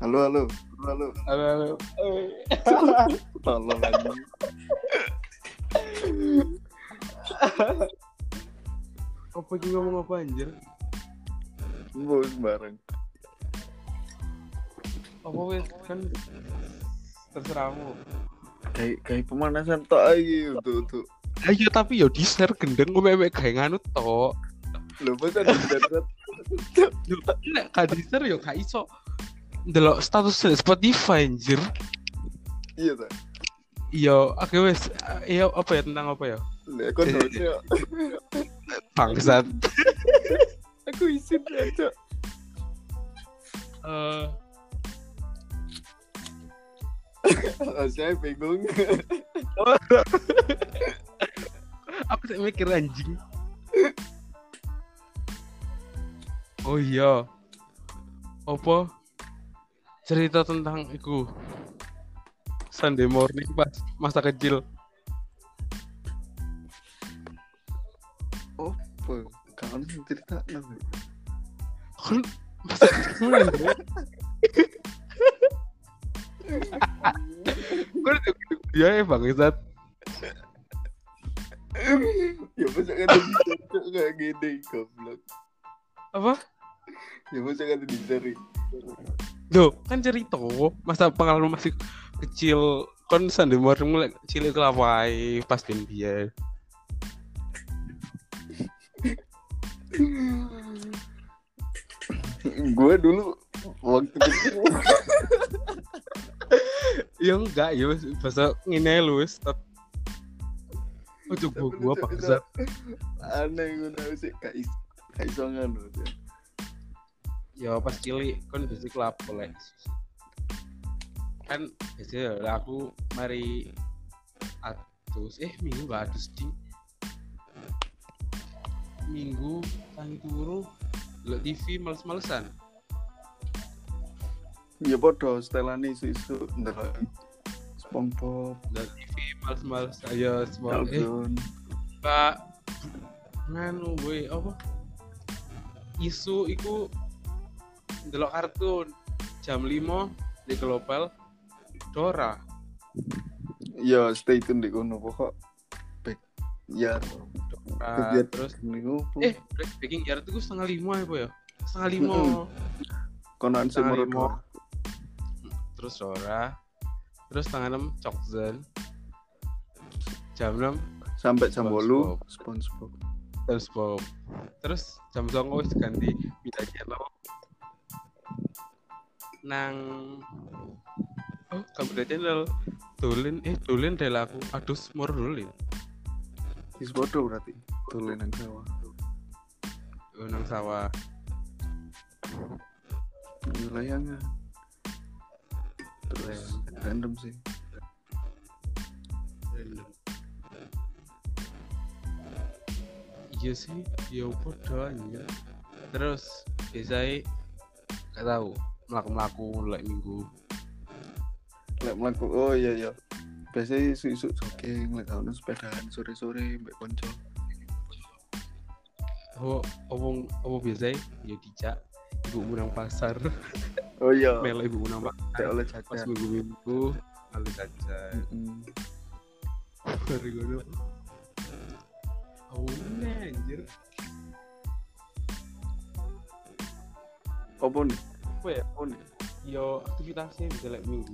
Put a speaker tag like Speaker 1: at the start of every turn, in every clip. Speaker 1: Halo, halo, halo,
Speaker 2: Halo, halo. Eh,
Speaker 1: halo. Tolong lagi.
Speaker 2: Apa sih ngomong apa anjir?
Speaker 1: Bos bareng.
Speaker 2: Apa wes kan terserahmu.
Speaker 1: Kayak kayak pemanasan tok aja tuh tuh.
Speaker 2: Ayo tapi yo di snare gendeng gue memek kayak nganu to.
Speaker 1: Lu masa ada darat?
Speaker 2: Yo nek ka di snare yo gak iso. Delok status di Spotify anjir.
Speaker 1: Iya tak.
Speaker 2: Yo oke wes yo apa ya tentang apa ya?
Speaker 1: Lah aku nanya.
Speaker 2: Bangsat.
Speaker 1: Aku izin aja.
Speaker 2: Eh
Speaker 1: Saya bingung.
Speaker 2: aku sih mikir anjing. Oh iya. Apa? Cerita tentang iku. Sunday morning pas masa kecil.
Speaker 1: Apa? Kamu cerita nang.
Speaker 2: Kan masa kecil kan, Bro? Gue udah gitu dia ya bangsat.
Speaker 1: Ya masa kan ada di cocok kayak gini goblok.
Speaker 2: Apa?
Speaker 1: Ya masa kan ada di seri.
Speaker 2: Loh, kan cerita masa pengalaman masih kecil kan Sunday morning mulai kecil ke lapai pas ben biyen.
Speaker 1: Gue dulu waktu kecil
Speaker 2: Ya enggak, ya wis bahasa ngene lu wis tetep. Ojo gua gua paksa.
Speaker 1: Aneh gue tau sih Kak Is Kak Isongan loh dia.
Speaker 2: Ya pas cilik kan bisik kelapa boleh. Kan biasanya lah aku mari atus eh minggu gak atus ding. Minggu tangi turu lo TV males-malesan.
Speaker 1: Ya podo setelan isu-isu Ntar Spongebob
Speaker 2: Lo TV males-males ayo semua eh
Speaker 1: Calgon
Speaker 2: Pak nganu boy apa isu iku delok kartun jam 5 di Global Dora
Speaker 1: Ya stay tune di kono pokok Back Ya
Speaker 2: Nah,
Speaker 1: Kegiatan.
Speaker 2: terus
Speaker 1: Minggu
Speaker 2: eh breaking yard itu setengah lima ya boy ya setengah lima
Speaker 1: Mm-mm. Konaan anu sih
Speaker 2: setengah
Speaker 1: menurut
Speaker 2: lima. terus Dora terus setengah enam Cokzen jam enam
Speaker 1: Sampai jam bolu Spongebob
Speaker 2: terus Bob terus jam songo wis ganti pindah channel nang oh kamu pindah channel Dolin eh dolin rela aku aduh semur dolin
Speaker 1: Is podo berarti Tulenan Jawa
Speaker 2: Oh, nang sawah
Speaker 1: Wilayahnya ya. Terus Random sih
Speaker 2: iya sih ya udah anjir terus biasanya gak tahu melaku melaku like minggu
Speaker 1: Lek melaku Oh iya iya Biasanya isu-isu jogging Lek tahun sepedaan sore-sore Mbak konco
Speaker 2: oh omong omong biasanya ya dijak ibu nang pasar
Speaker 1: Oh iya
Speaker 2: melo ibu nang pasar
Speaker 1: Tidak oleh
Speaker 2: pas
Speaker 1: jajan
Speaker 2: minggu minggu lalu saja
Speaker 1: Mm-mm.
Speaker 2: baru gue Hmm. oh ini anjir
Speaker 1: Apa nih?
Speaker 2: apa ya oh nih yo aktivitasnya bisa like minggu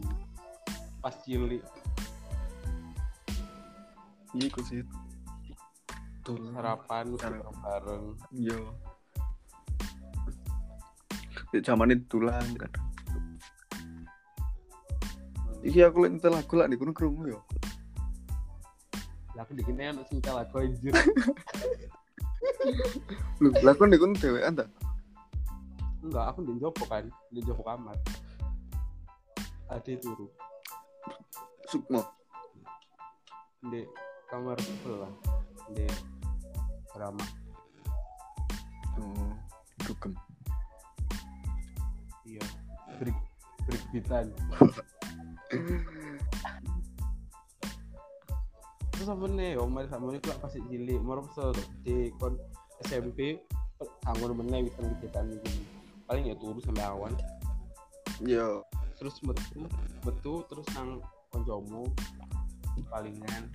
Speaker 2: pas cilik
Speaker 1: Iya ikut sih Tulang
Speaker 2: sarapan
Speaker 1: Sarapan.
Speaker 2: bareng
Speaker 1: Iya Di zaman itu tulang kan Iki aku lagi nyetel lagu lah di ya. kono krungu yo.
Speaker 2: lah aku dikini anak cinta lagu anjir
Speaker 1: Lho, lah kon di kono dhewean ta?
Speaker 2: enggak aku di jopo kan di jopo kamar tadi turu
Speaker 1: Sukmo.
Speaker 2: di kamar sebelah di drama
Speaker 1: Oh. dugem
Speaker 2: iya break break bitan terus apa nih ya mari sama ini kalau pasti cilik mau di kon SMP tanggung meneh bisa kegiatan ini paling ya turu sampai awan
Speaker 1: yo
Speaker 2: terus metu metu terus nang konjomu palingan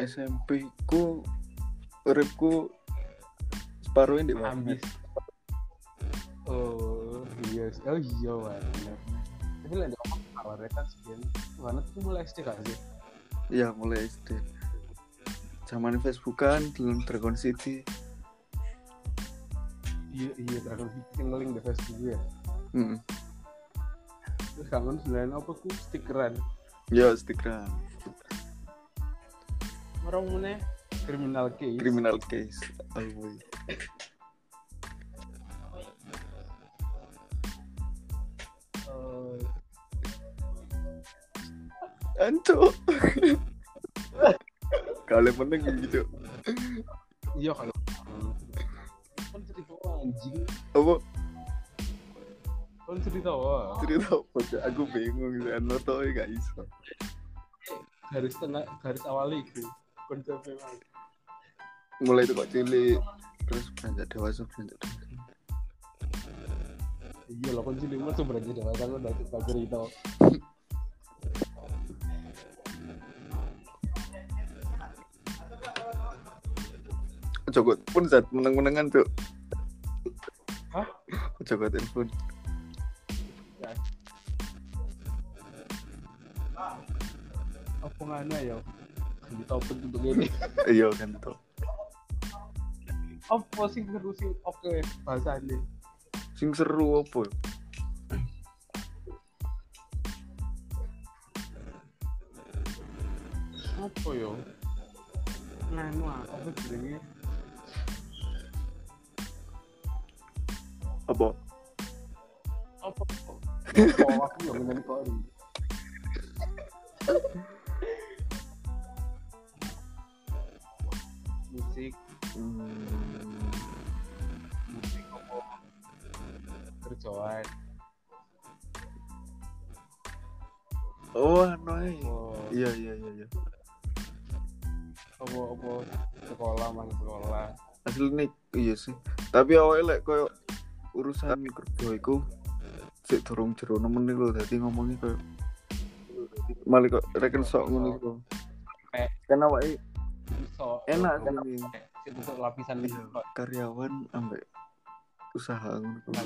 Speaker 1: SMP ku uripku separuhnya di warnet.
Speaker 2: ambis oh iya oh iya warnet tapi lah diomong warnet kan sekian warnet tuh mulai SD kan sih
Speaker 1: Iya mulai SD. Zaman Facebookan belum Dragon City.
Speaker 2: iya iya aku bikin link di Facebook ya
Speaker 1: Mm.
Speaker 2: terus kangen sebenarnya apa ku stikeran
Speaker 1: Ya Instagram.
Speaker 2: orang mana criminal case
Speaker 1: Criminal Case. Alboy.
Speaker 2: Eh,
Speaker 1: Anco. Kalau yang penting gitu.
Speaker 2: iya kalau kan cerita anjing
Speaker 1: Apa
Speaker 2: kan cerita wah
Speaker 1: cerita apa? Cok? Aku bingung. Saya noto gak iso.
Speaker 2: garis tengah garis awal itu konsep memang
Speaker 1: Mulai itu kok cilik. Terus beranjak dewasa beranjak dewasa.
Speaker 2: iya lah konsep lima tuh berarti dewasa lo udah cerita cerita
Speaker 1: Coba pun saat meneng-menengan tuh.
Speaker 2: Hah? Ya.
Speaker 1: Coba telepon.
Speaker 2: apa ngana ya di topik untuk ini
Speaker 1: Iya kan tuh.
Speaker 2: apa sih seru sih oke bahasa ini
Speaker 1: Sing seru apa?
Speaker 2: apa ya nganu ah, apa jenenge
Speaker 1: Apa?
Speaker 2: apa kok aku yang ngene kok musik
Speaker 1: Hmm.
Speaker 2: musik apa kerjaan
Speaker 1: Oh, anu ae.
Speaker 2: oh,
Speaker 1: Iya, iya, iya, iya.
Speaker 2: apa apa sekolah mang sekolah
Speaker 1: Asli nih, iya sih. Tapi awalnya lek koyo urusan kerja iku sik durung jero nemen iku dadi ngomongi koyo malah kok reken sok ngono iku.
Speaker 2: Eh.
Speaker 1: Kan awake
Speaker 2: so
Speaker 1: enak kan ini.
Speaker 2: itu lapisan
Speaker 1: Iya, karyawan ambek usaha ngono. iku.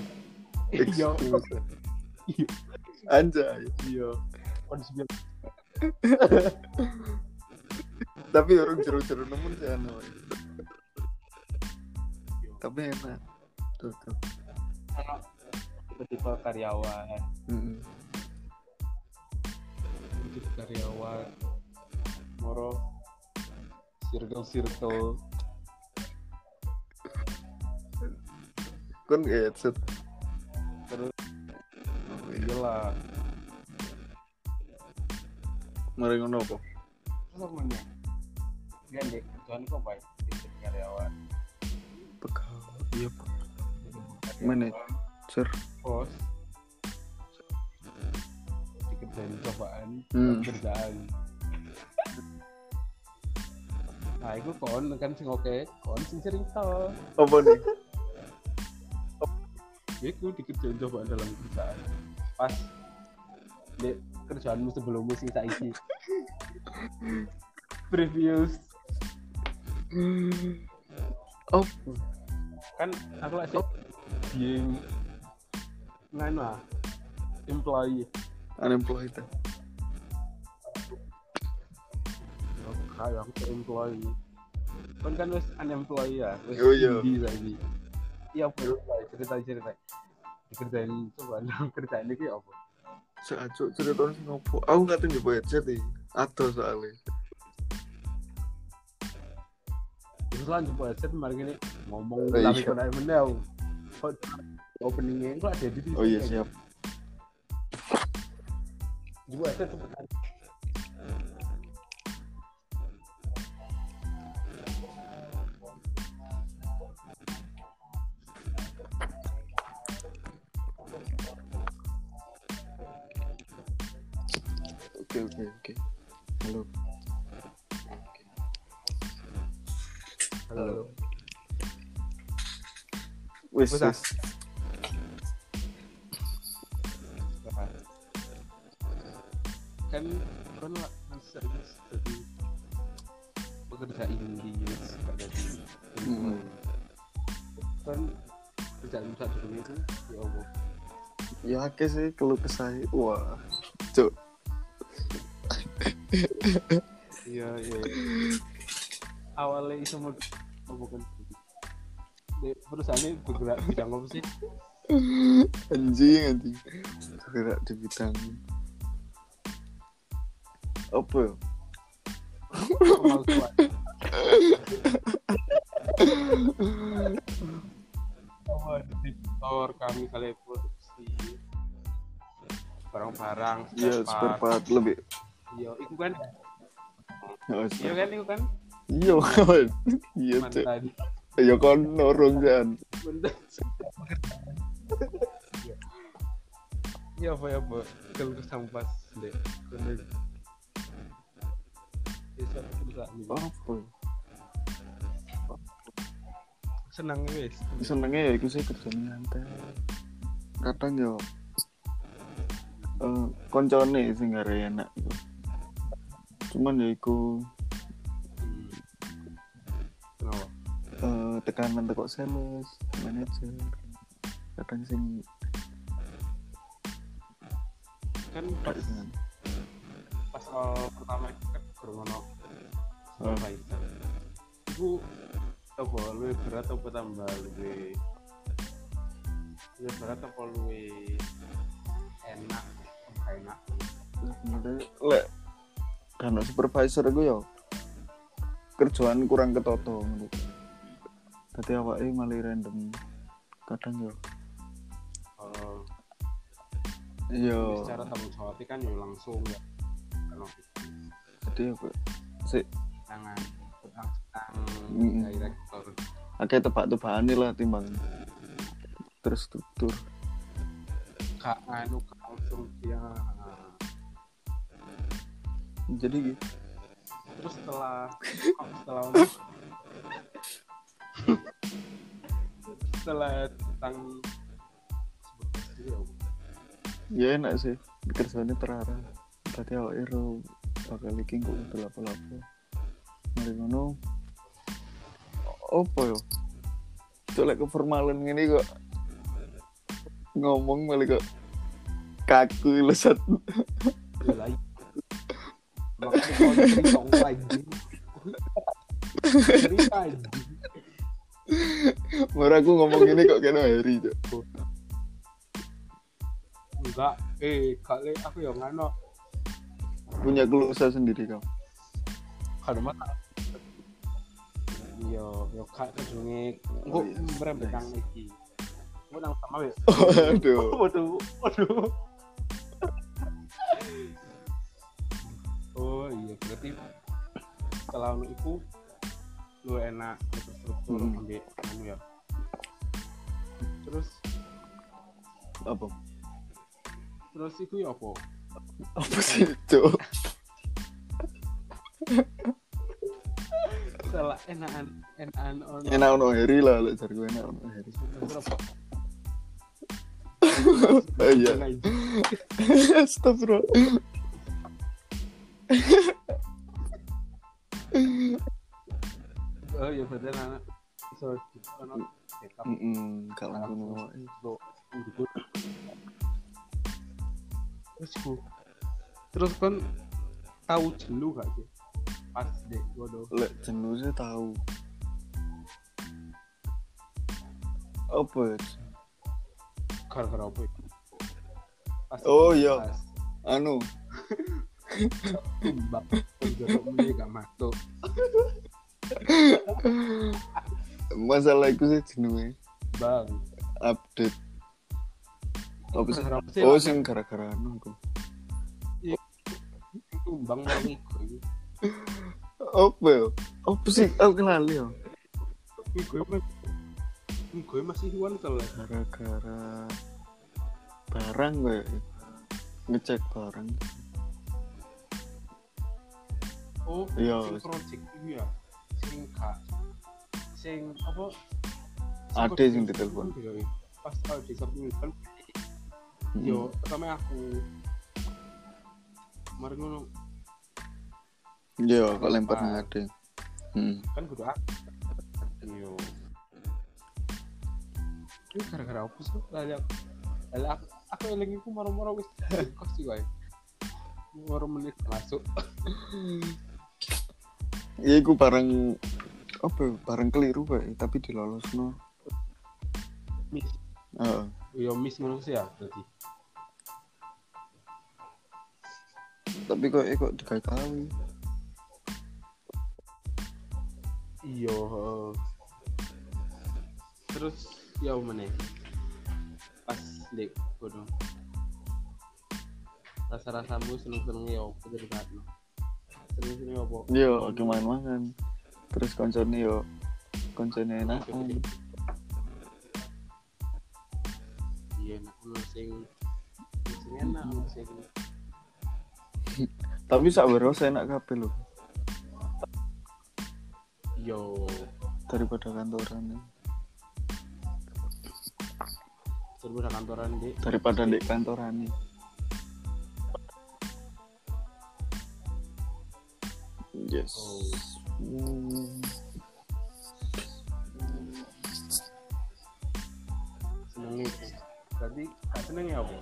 Speaker 2: iya
Speaker 1: Excuse.
Speaker 2: Iya.
Speaker 1: Anjay, iya.
Speaker 2: konsep
Speaker 1: Tapi orang jero-jero nemen sih anu. ae. Tapi enak. Tuh, tuh.
Speaker 2: tipe karyawan
Speaker 1: Mm-mm.
Speaker 2: untuk karyawan moro circle circle
Speaker 1: Kan kayak headset.
Speaker 2: terus
Speaker 1: Oh, iya.
Speaker 2: iyalah
Speaker 1: Mari ngono apa?
Speaker 2: terus apa nih dia dek tuhan kok baik jadi karyawan
Speaker 1: Pegawai. Iya, Pak.
Speaker 2: Jadi karyawan,
Speaker 1: Manager.
Speaker 2: bos dikerjain cobaan
Speaker 1: Hmm.
Speaker 2: kerjaan nah itu kon kan sing oke kon sing cerita
Speaker 1: Apa nih?
Speaker 2: Iku Ya, dikerjain cobaan dalam kerjaan. Pas Dek, kerjaanmu sebelummu sing saiki. Previous
Speaker 1: Oh,
Speaker 2: kan aku lagi being nganu ah, employee.
Speaker 1: unemployed.
Speaker 2: Oh, kayak aku tuh employee. Kan kan wis unemployed ya, wis
Speaker 1: Oh, iya.
Speaker 2: indie saiki. Iya, bro, cerita-cerita. Dikerjain cobaan dalam kerjaan iki apa?
Speaker 1: Seacu cerita sing ngopo? Aku nggak tahu nyoba headset iki. Ada soalnya.
Speaker 2: terus lanjut buat set mari ini ngomong
Speaker 1: Eh,
Speaker 2: tapi
Speaker 1: iya.
Speaker 2: kok naik meneh aku. kok openingnya ya, kok ada di
Speaker 1: Oh iya siap.
Speaker 2: juga set cepetan
Speaker 1: oke oke oke halo
Speaker 3: Halo.
Speaker 1: wis
Speaker 3: Wis, ah.
Speaker 1: wis.
Speaker 2: kan kan lah kan sering jadi pekerja indie yes, gak jadi
Speaker 1: Hmm.
Speaker 2: kan kerjaan besar dunia itu ya Allah
Speaker 1: ya oke sih kalau kesai wah cok
Speaker 2: iya iya awalnya itu mau oh, bukan Di perusahaannya bergerak bidang apa sih
Speaker 1: anjing anjing gerak di bidang apa ya?
Speaker 2: pemalsuan oh, editor kami kali kan, produksi barang-barang
Speaker 1: iya spare part lebih
Speaker 2: iya itu kan
Speaker 1: Oh,
Speaker 2: iya
Speaker 1: spare-
Speaker 2: kan itu kan
Speaker 1: iya kawan iya cok
Speaker 2: mantan
Speaker 1: ya kan norong kan
Speaker 2: Benda- ya apa ya bu kalau kesampas deh Benda- Besok bisa nih.
Speaker 1: apa ya?
Speaker 2: senang wes
Speaker 1: senengnya ya itu sih kerjanya santai kadang ya eh koncone sih gak ada enak iku. cuman ya iku
Speaker 2: kenapa
Speaker 1: eh, tekanan tekok sales manajer kadang sing
Speaker 2: kan pas pas awal pertama itu kan kerungono supervisor itu apa lebih berat apa tambah lebih lebih berat apa lebih enak apa enak
Speaker 1: Sebenarnya, lek karena supervisor gue ya kerjaan kurang ketoto menurut tadi awalnya malah random kadang ya, yo
Speaker 2: kalau
Speaker 1: yo
Speaker 2: secara tanggung jawabnya kan ya langsung ya kalau
Speaker 1: jadi apa sih
Speaker 2: tangan langsung
Speaker 1: Mm-mm.
Speaker 2: direktur
Speaker 1: Oke tebak-tebakan lah timbang terstruktur.
Speaker 2: kak anu Kak langsung dia
Speaker 1: Jadi gitu.
Speaker 2: terus setelah setelah setelah tentang
Speaker 1: ya enak sih kerjanya terarah. Tadi awak ero bakal iki kok udah lapo-lapo. Mari ngono. Opo yo? Colek keformalan ngene kok ngomong malah kok kaku lesat
Speaker 2: lagi makanya kalau cerita lagi cerita aja
Speaker 1: Mora aku ngomong ini kok kena hari cok.
Speaker 2: enggak eh kali aku yang ngano
Speaker 1: punya kelusa sendiri kau
Speaker 2: kalau mata yo yo Iya, kak kejungi engko
Speaker 1: iya.
Speaker 2: merembet nang iki engko nang sama ya
Speaker 1: aduh
Speaker 2: waduh waduh oh iya berarti setelah lu iku lu enak terstruktur
Speaker 1: Hmm.
Speaker 2: ambil anu ya terus
Speaker 1: apa
Speaker 2: terus iku ya apa
Speaker 1: apa sih cok
Speaker 2: setelah enakan enakan on
Speaker 1: enak ono hari lah lek jar enak ono hari
Speaker 2: terus apa
Speaker 1: oh iya
Speaker 2: Lagi.
Speaker 1: stop bro
Speaker 2: oh iya berarti anak so ono tetap
Speaker 1: mm gak langsung ngomong
Speaker 2: lo ngikut. terus ku terus kan tahu jelu gak sih pas dek godo
Speaker 1: lek jenuh sih tahu apa ya?
Speaker 2: gara-gara apa itu pas
Speaker 1: Oh, iya.
Speaker 2: pas
Speaker 1: anu
Speaker 2: tumbak penjorok muni ya? gak masuk
Speaker 1: masalah itu sih jenuhnya
Speaker 2: bang
Speaker 1: update apa sih
Speaker 2: gara-gara apa sih
Speaker 1: oh sing gara-gara anu aku
Speaker 2: tumbang orang iku
Speaker 1: apa ya apa sih aku lali ya
Speaker 2: gue gue masih hewan kalau
Speaker 1: gara-gara ya. barang gue ngecek barang
Speaker 2: Oh,
Speaker 1: Iya,
Speaker 2: sing
Speaker 1: wis.
Speaker 2: project itu ya. Sing gak sing apa?
Speaker 1: Ade
Speaker 2: kok-
Speaker 1: sing ditelepon.
Speaker 2: Iya, iya. Pas kalau di sub kan
Speaker 1: Mm.
Speaker 2: yo pertama aku kemarin ngono
Speaker 1: Iya, kok lempar
Speaker 2: Lempar.
Speaker 1: nang ade. Hmm.
Speaker 2: kan kudu aku. Yo. Ini gara-gara aku sih lali aku. Lali aku aku eling iku moro-moro wis kos iki wae. Moro menit masuk.
Speaker 1: Iya, iku bareng apa? ya, Bareng keliru kayak, tapi dilolosno.
Speaker 2: Miss.
Speaker 1: Heeh.
Speaker 2: Yo miss ngono sih ya berarti.
Speaker 1: Tapi kok eh, kok digawe.
Speaker 2: Iya. heeh. Terus ya mana? Pas dek kudu. Rasa-rasamu seneng-seneng ya apa dari kamu? Seneng-seneng ya apa?
Speaker 1: Yo, oke main-main. Iya, Terus koncone yo koncone enak.
Speaker 2: Iya, enak ono sing sing enak ono sing
Speaker 1: Tapi sak wero enak kabeh lho
Speaker 2: yo
Speaker 1: daripada kantoran. ya.
Speaker 2: terus ada kantoran dek.
Speaker 1: Daripada di kantoran nih. Yes.
Speaker 2: Oh.
Speaker 1: Hmm.
Speaker 2: senengnya itu berarti gak senengnya apa?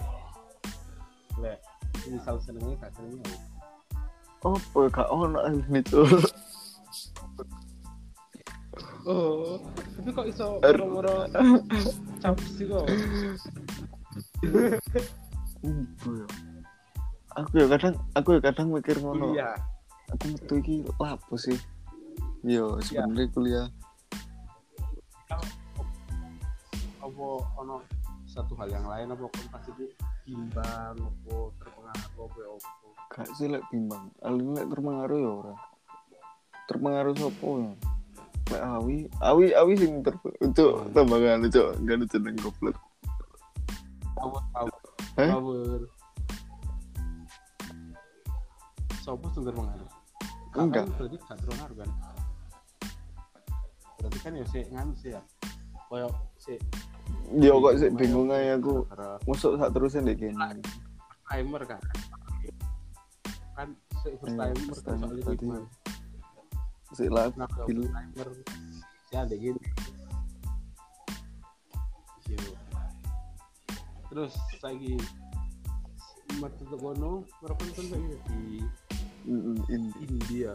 Speaker 2: Lek, misal senengnya gak senengnya apa?
Speaker 1: Apa ya, gak ono ini tuh.
Speaker 2: Oh, tapi kok iso
Speaker 1: Er-
Speaker 2: moro-moro campur sih kok.
Speaker 1: Ibu ya. Aku ya kadang aku ya kadang mikir ngono.
Speaker 2: Iya.
Speaker 1: Aku metu iki lapo sih. Yo sebenarnya kuliah.
Speaker 2: Apa ono satu hal yang lain apa kon pasti itu bimbang apa terpengaruh apa ya apa.
Speaker 1: Gak sih lek bimbang. Alin lek terpengaruh ya ora. Terpengaruh sopo ya? Lek awi, awi awi sing ter itu tambahan lucu, gak lucu nang goblok.
Speaker 2: Power power.
Speaker 1: Heh?
Speaker 2: Power. Sopo sing terpengaruh?
Speaker 1: Enggak.
Speaker 2: Kan Berarti gak terpengaruh kan. Berarti kan ya sih nganu sih ya. Kayak sih
Speaker 1: Yo Ya kok sik bingung ae aku.
Speaker 2: Gara-gara
Speaker 1: Masuk sak terusnya dek kene.
Speaker 2: timer kan. Kan sih first
Speaker 1: Iya,
Speaker 2: timer
Speaker 1: first
Speaker 2: kan
Speaker 1: timer,
Speaker 2: soalnya
Speaker 1: tadi.
Speaker 2: gimana.
Speaker 1: Sik lah
Speaker 2: Nah, kalau
Speaker 1: Gila.
Speaker 2: timer ya ada gini. Yo. Iya. Terus lagi mati tutup kono, merupakan kan lagi di
Speaker 1: Mm, ini.
Speaker 2: India.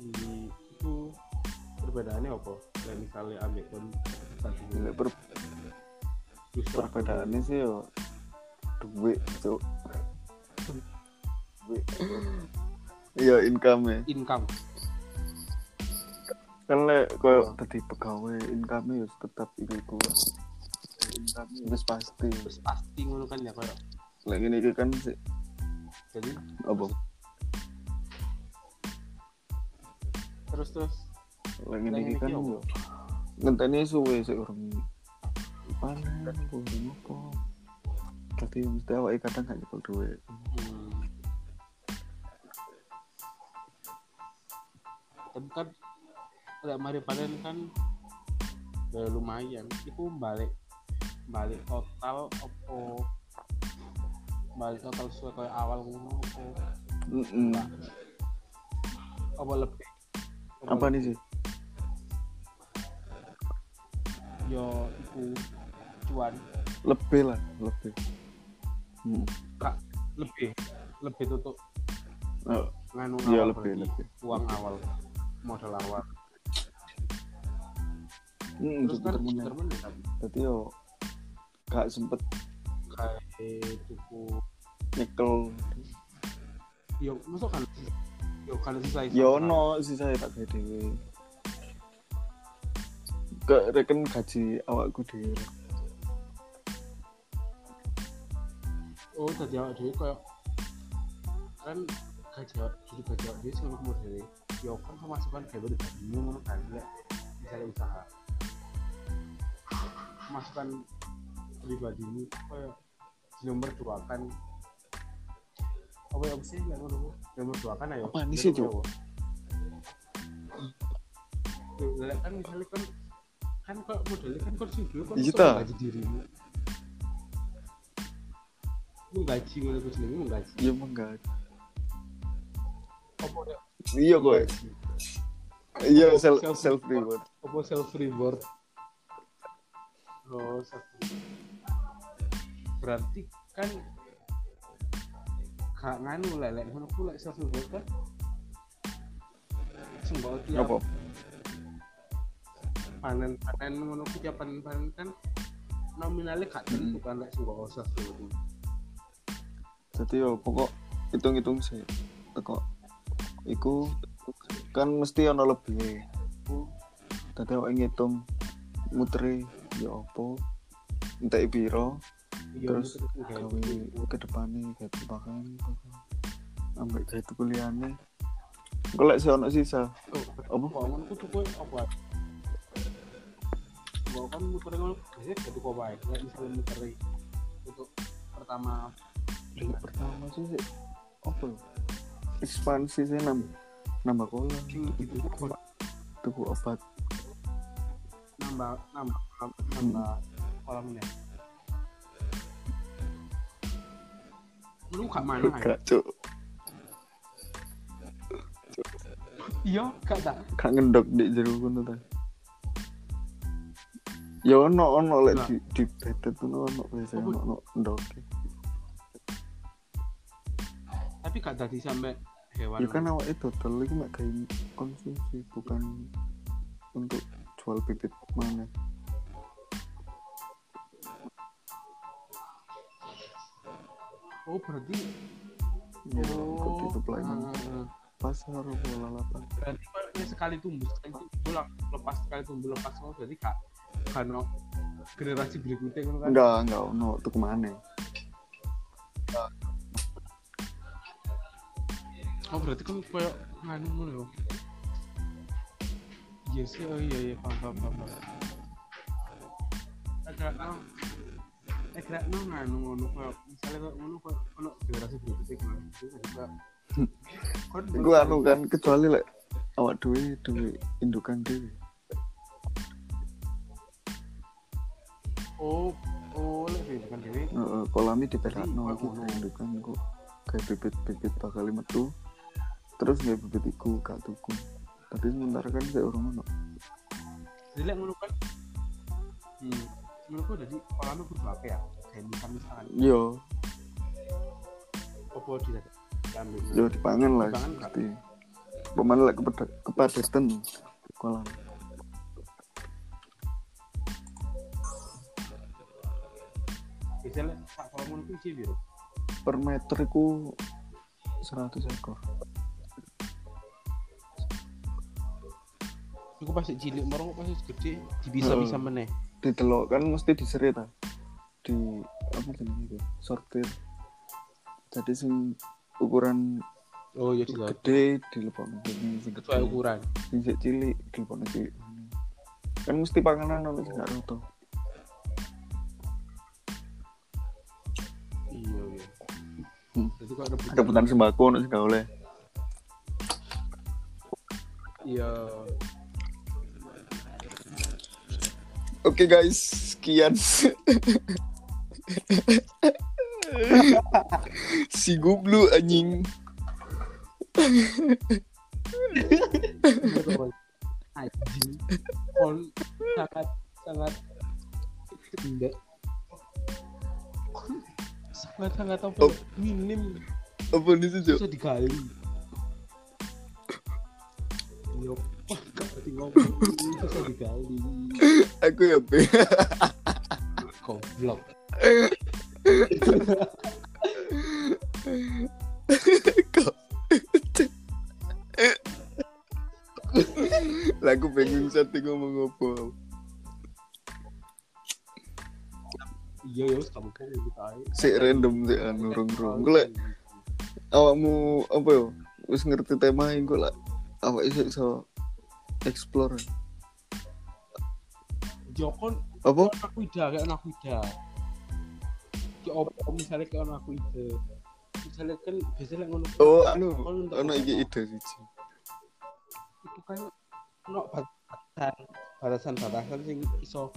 Speaker 2: Ini itu perbedaannya apa? Lah misalnya ambil kon satu
Speaker 1: Lek per
Speaker 2: terus
Speaker 1: perbedaannya sih yo duit cuk duit iya income ya
Speaker 2: income.
Speaker 1: kan lek koyo tadi pegawai income ya tetap iku iku income wis pasti
Speaker 2: Terus pasti ngono kan ya kayak.
Speaker 1: lek ngene iki kan sih
Speaker 2: Jadi
Speaker 1: apa
Speaker 2: terus terus
Speaker 1: lek ngene iki kan
Speaker 2: Lek ngene iki
Speaker 1: yo ngenteni suwe sik urung panen apa urung apa tapi mesti awake kadang gak nyekel duit
Speaker 2: Hmm. Tapi kan lek mari panen kan ya lumayan. Iku balik balik total opo balik total sesuai kayak awal ngono eh, opo
Speaker 1: Mm-mm.
Speaker 2: Nah, opo lebih Opo
Speaker 1: apa nih sih
Speaker 2: lebih? yo iku cuan
Speaker 1: lebih lah lebih Mm.
Speaker 2: kak lebih lebih tutup
Speaker 1: Oh,
Speaker 2: nganu
Speaker 1: Iya,
Speaker 2: awal
Speaker 1: lebih,
Speaker 2: berarti.
Speaker 1: lebih.
Speaker 2: uang awal modal awal
Speaker 1: mm,
Speaker 2: terus kan
Speaker 1: sebentar meneh.
Speaker 2: pinter meneh kan
Speaker 1: Berarti yo gak sempet
Speaker 2: kayak tuku
Speaker 1: nyekel.
Speaker 2: yo masuk kan yo kalau sisa sisa
Speaker 1: Yo ono sih saya tak gawe dhewe. Gak reken gaji awakku dhewe.
Speaker 2: oh tadi awak dewi kayak kan gaji awak jadi gaji awak dewi sama kamu dewi yo kan pemasukan kayak beda bingung ngono kan ya misalnya usaha pemasukan pribadimu kayak nomor dua kan apa yang sih yang ngono yang merduakan kan, ayo
Speaker 1: Apaan sih, Cuk?
Speaker 2: Lek kan misalnya kan kan kok modelnya kan kan sing dulu kan
Speaker 1: Iya,
Speaker 2: iso
Speaker 1: ta.
Speaker 2: menggaji dirimu menggaji ngono ku jenenge menggaji
Speaker 1: Iya enggak.
Speaker 2: apa ya
Speaker 1: Iya kok.
Speaker 2: menggaji?
Speaker 1: Iya self
Speaker 2: Self-
Speaker 1: self reward.
Speaker 2: apa self reward oh self reward berarti kan gak nganu lah lek ngono ku lek self reward kan sembah tiap
Speaker 1: Apa?
Speaker 2: panen panen ngono ku tiap panen panen kan nominalnya gak
Speaker 1: Hmm.
Speaker 2: tentu kan lek sembah self reward
Speaker 1: Jadi yo pokok hitung-hitung sih. Teko iku kan mesti ono lebih. Tadi awake ngitung muteri ya apa? Entek piro
Speaker 2: Iya,
Speaker 1: Terus
Speaker 2: itu kan kayak
Speaker 1: gawe
Speaker 2: gitu.
Speaker 1: ke depannya kayak tebakan ambek kayak itu kuliahnya. Golek sih ono sisa.
Speaker 2: Oh,
Speaker 1: Apa?
Speaker 2: bangun ku tuku apa? Gua kan muter ngono, biasanya gitu kok baik. Lek misalnya muter untuk pertama
Speaker 1: Yang pertama sih sih, apa ya? ekspansi sih nambah nambah kolam
Speaker 2: gitu kok
Speaker 1: tuku obat
Speaker 2: nambah nambah nambah kolamnya. Lu gak mana? ya?
Speaker 1: gak cuk
Speaker 2: Iya, gak tak.
Speaker 1: gak ngendok di jero kono ta ya ono ono lek
Speaker 2: Lah.
Speaker 1: di di bete tuh ono biasanya
Speaker 2: Apa?
Speaker 1: ono ono ndok
Speaker 2: Tapi gak tadi sampai hewan.
Speaker 1: ya kan awake total iki mek gawe konsumsi bukan untuk jual bibit mana
Speaker 2: Oh, berarti
Speaker 1: ya
Speaker 2: Oh.
Speaker 1: untuk itu pelayanan
Speaker 2: Ah,
Speaker 1: pasar apa lalapan
Speaker 2: berarti kalau sekali tumbuh sekali tumbuh lang- lepas sekali tumbuh lepas semua berarti kak karena generasi berikutnya kan kan
Speaker 1: enggak enggak ono tuku mana
Speaker 2: oh berarti kan kayak nganu ngono ya iya sih oh iya iya paham paham paham paham eh gerak no eh gerak no nganu ngono kayak misalnya kayak ngono kayak ono generasi berikutnya kan kan
Speaker 1: Iku anu kan kecuali lek awak dhewe duwe indukan dhewe.
Speaker 2: oh oh lebih kan dewe
Speaker 1: Heeh, kolami diperakno
Speaker 2: Jadi,
Speaker 1: iki
Speaker 2: ngono.
Speaker 1: indukan iku kayak bibit-bibit bakal metu. Terus nggak bibit iku gak tuku. Tapi sementara kan saya urung ono.
Speaker 2: Jadi ngono kan. Hmm. Menurutku jadi kolamnya kudu akeh ya. Kayak misalnya misalkan
Speaker 1: Yo,
Speaker 2: opo di diambil.
Speaker 1: yo dipangan lah
Speaker 2: Dipangan,
Speaker 1: pasti. Pemen lek kepada- kepadatan kolam.
Speaker 2: Misalnya sak kolam ngono ku isi biru.
Speaker 1: Per meter iku 100 ekor.
Speaker 2: Iku pas cilik moro pas gede dibisa-bisa
Speaker 1: Heeh.
Speaker 2: meneh.
Speaker 1: Didelok kan mesti diseret ta. Di apa jenenge itu? Sortir. Jadi sing ukuran
Speaker 2: Oh iya juga.
Speaker 1: gede di lepon gini sing
Speaker 2: Sesuai
Speaker 1: gede
Speaker 2: ukuran.
Speaker 1: sing sik cilik di lepon cilik kan mesti panganan ono sing gak roto
Speaker 2: Iya iya.
Speaker 1: Hmm.
Speaker 2: Jadi kok rebutan.
Speaker 1: kebutuhan sembako ono sing gak oleh
Speaker 2: Iya.
Speaker 1: oke guys sekian si gublu anjing
Speaker 2: Anjing. Kon sangat sangat tidak sangat sangat apa
Speaker 1: Oh.
Speaker 2: minim
Speaker 1: apa nih sih Cok?
Speaker 2: bisa digali Yo, Iya, wah, gak ngerti ngomong bisa digali
Speaker 1: aku ya be
Speaker 2: goblok
Speaker 1: lah aku pengen sate ngomong apa
Speaker 2: iya ya wis kamu kan kita ae
Speaker 1: si random sih
Speaker 2: Iya,
Speaker 1: anu rong rong gue lek awakmu apa yo wis ngerti tema ini gue lah awak iso iso explore
Speaker 2: jokon
Speaker 1: apa
Speaker 2: Ya, aku Ya, ida kayak anak ida ki opo misalnya kayak anak ida misalnya kan biasanya lek ngono
Speaker 1: Oh, anu,
Speaker 2: Kon untuk
Speaker 1: ono iki
Speaker 2: apa?
Speaker 1: ide siji.
Speaker 2: itu kan ono batasan batasan batasan sing iso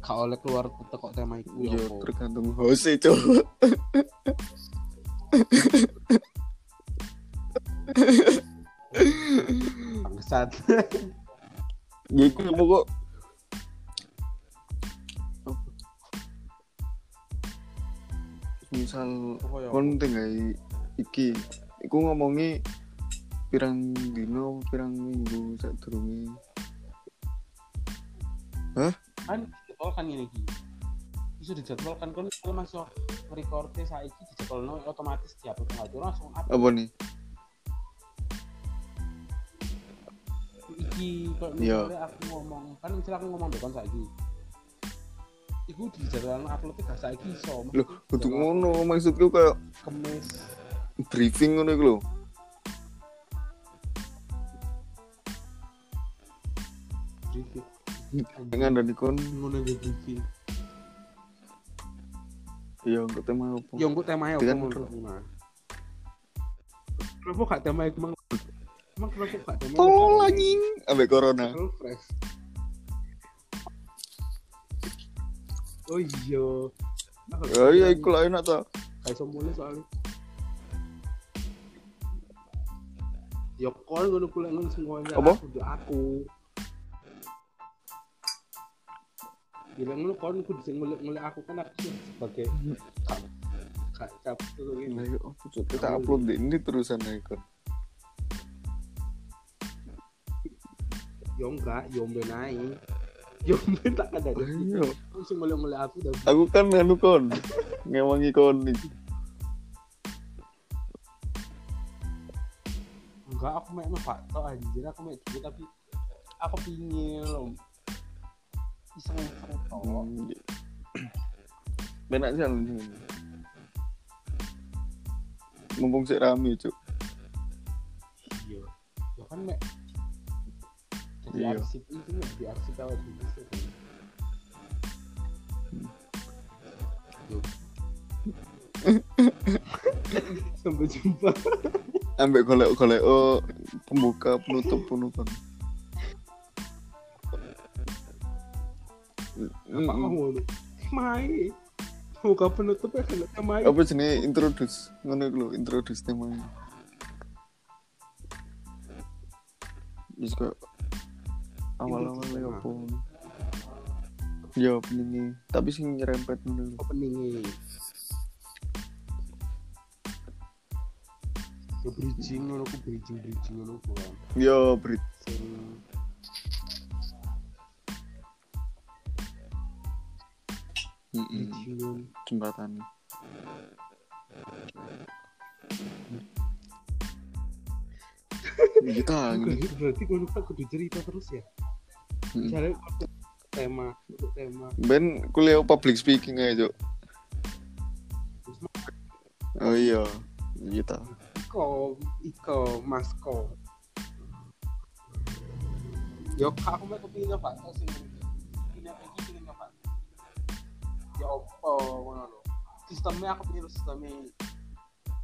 Speaker 2: gak oleh keluar teko tema iku ya
Speaker 1: Iya,
Speaker 2: apa.
Speaker 1: tergantung host e, Cuk.
Speaker 2: bangsat
Speaker 1: Ya iku ya, pokok misal
Speaker 2: Apa ya?
Speaker 1: kon tinggal iki iku ngomongi pirang dino pirang minggu sak durunge
Speaker 2: kan dijadwal kan gini gini bisa dijadwalkan kan kalau masuk recordnya saiki dijadwalno otomatis tiap pengatur langsung up
Speaker 1: apa nih
Speaker 2: iki kalau
Speaker 1: Iya.
Speaker 2: misalnya aku ngomong kan misalnya aku ngomong depan saiki iku dijadwalno uploadnya gak saiki iso
Speaker 1: lho kudu
Speaker 2: Iya.
Speaker 1: ngono maksudku kayak
Speaker 2: kemis
Speaker 1: briefing ngono iku lho
Speaker 2: briefing
Speaker 1: ngandani kon
Speaker 2: ngono nggih briefing
Speaker 1: ya untuk tema apa
Speaker 2: yo engko temae opo
Speaker 1: Dengan-
Speaker 2: ngono Mas? kenapa gak temae emang emang kenapa gak temae
Speaker 1: tolol
Speaker 2: iya.
Speaker 1: anjing ambek corona
Speaker 2: Terlalu fresh. Oh iya.
Speaker 1: ya iya iku lah enak ta
Speaker 2: Kayak sombongnya soalnya. Ya kon ngono kuliah ngono semuanya.
Speaker 1: Apa?
Speaker 2: Kudu aku. Bilang lu kon kudu sing ngulik-ngulik aku kan aku sih sebagai kak kak kak
Speaker 1: Lah,
Speaker 2: tuh ini.
Speaker 1: ya apa, Cuk? kita upload di ini terusan ae kon
Speaker 2: Yo ya enggak, yo ben ae. Yo ben tak ada.
Speaker 1: Lah, iya
Speaker 2: Aku sing ngulik-ngulik aku dan
Speaker 1: aku kan anu kon ngewangi kon iki
Speaker 2: enggak aku main mah Pak. Tau anjir aku main dulu tapi aku pingin loh iseng iseng toh
Speaker 1: Hmm. Penak sih anu. Mumpung sik rame, Cuk.
Speaker 2: iya ya kan mek jadi
Speaker 1: Iya.
Speaker 2: arsip itu mek di arsip awal dulu sih kan Yo. sampai jumpa
Speaker 1: Ambek golek-golek oh, pembuka penutup penutup.
Speaker 2: apa mau lu main buka penutup ya kan main
Speaker 1: Apa jenis introduce? Ngono iku lho, introduce temanya. Wis kok awal-awal
Speaker 2: Introduce
Speaker 1: ya
Speaker 2: tema.
Speaker 1: apa. Ya opening tapi sing nyerempet ngono lho.
Speaker 2: openingnya ya bridging ngono ku bridging bridging ngono ku kan
Speaker 1: Yo, Ya, Brit.
Speaker 2: sing
Speaker 1: Heeh.
Speaker 2: bridging ngono
Speaker 1: Jembatan. Kita
Speaker 2: Berarti- berarti ngono kan kudu cerita terus ya
Speaker 1: Mm.
Speaker 2: Misalnya untuk tema untuk tema
Speaker 1: Ben kuliah public speaking aja, Cuk.
Speaker 2: terus
Speaker 1: Oh iya, kita.
Speaker 2: iko iko masko yo kak aku mau kepingin apa Aku sing ini apa iki pengen apa ya opo ngono lho sistemnya aku pengen sistemnya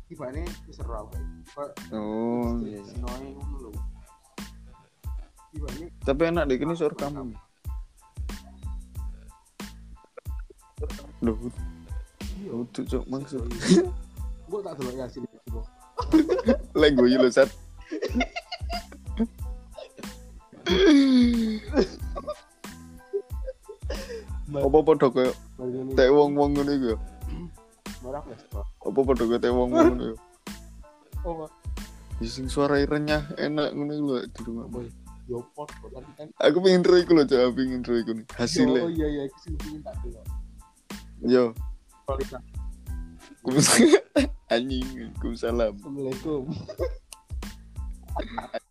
Speaker 2: tibane seru aku kok
Speaker 1: Oh, iya. iya.
Speaker 2: sinoe ngono lho tibane
Speaker 1: Tapi enak deh, ini suara kamu. Loh,
Speaker 2: iya
Speaker 1: udah cok maksud.
Speaker 2: gua tak delok ya sini iki, Bo.
Speaker 1: Lek gue lho, Sat. Apa podo koyo
Speaker 2: Mari ngene.
Speaker 1: tek wong-wong ngono iku ya?
Speaker 2: Murah nggak sih, Bo?
Speaker 1: Apa podo koyo tek wong-wong ngono ya?
Speaker 2: Oh, Bo.
Speaker 1: Ya, sing suara renyah enak ngono iku lho, di rumah.
Speaker 2: Boy, yo pot kok tapi kan
Speaker 1: Aku pengen intro iku lho, Cok. Aku pengen intro iku nih.
Speaker 2: Oh
Speaker 1: Hasilnya.
Speaker 2: iya iya iki sing pengen tak delok.
Speaker 1: Yo.
Speaker 2: Kualitas.
Speaker 1: Kumis- Anjing, Waalaikumsalam.
Speaker 2: Assalamualaikum.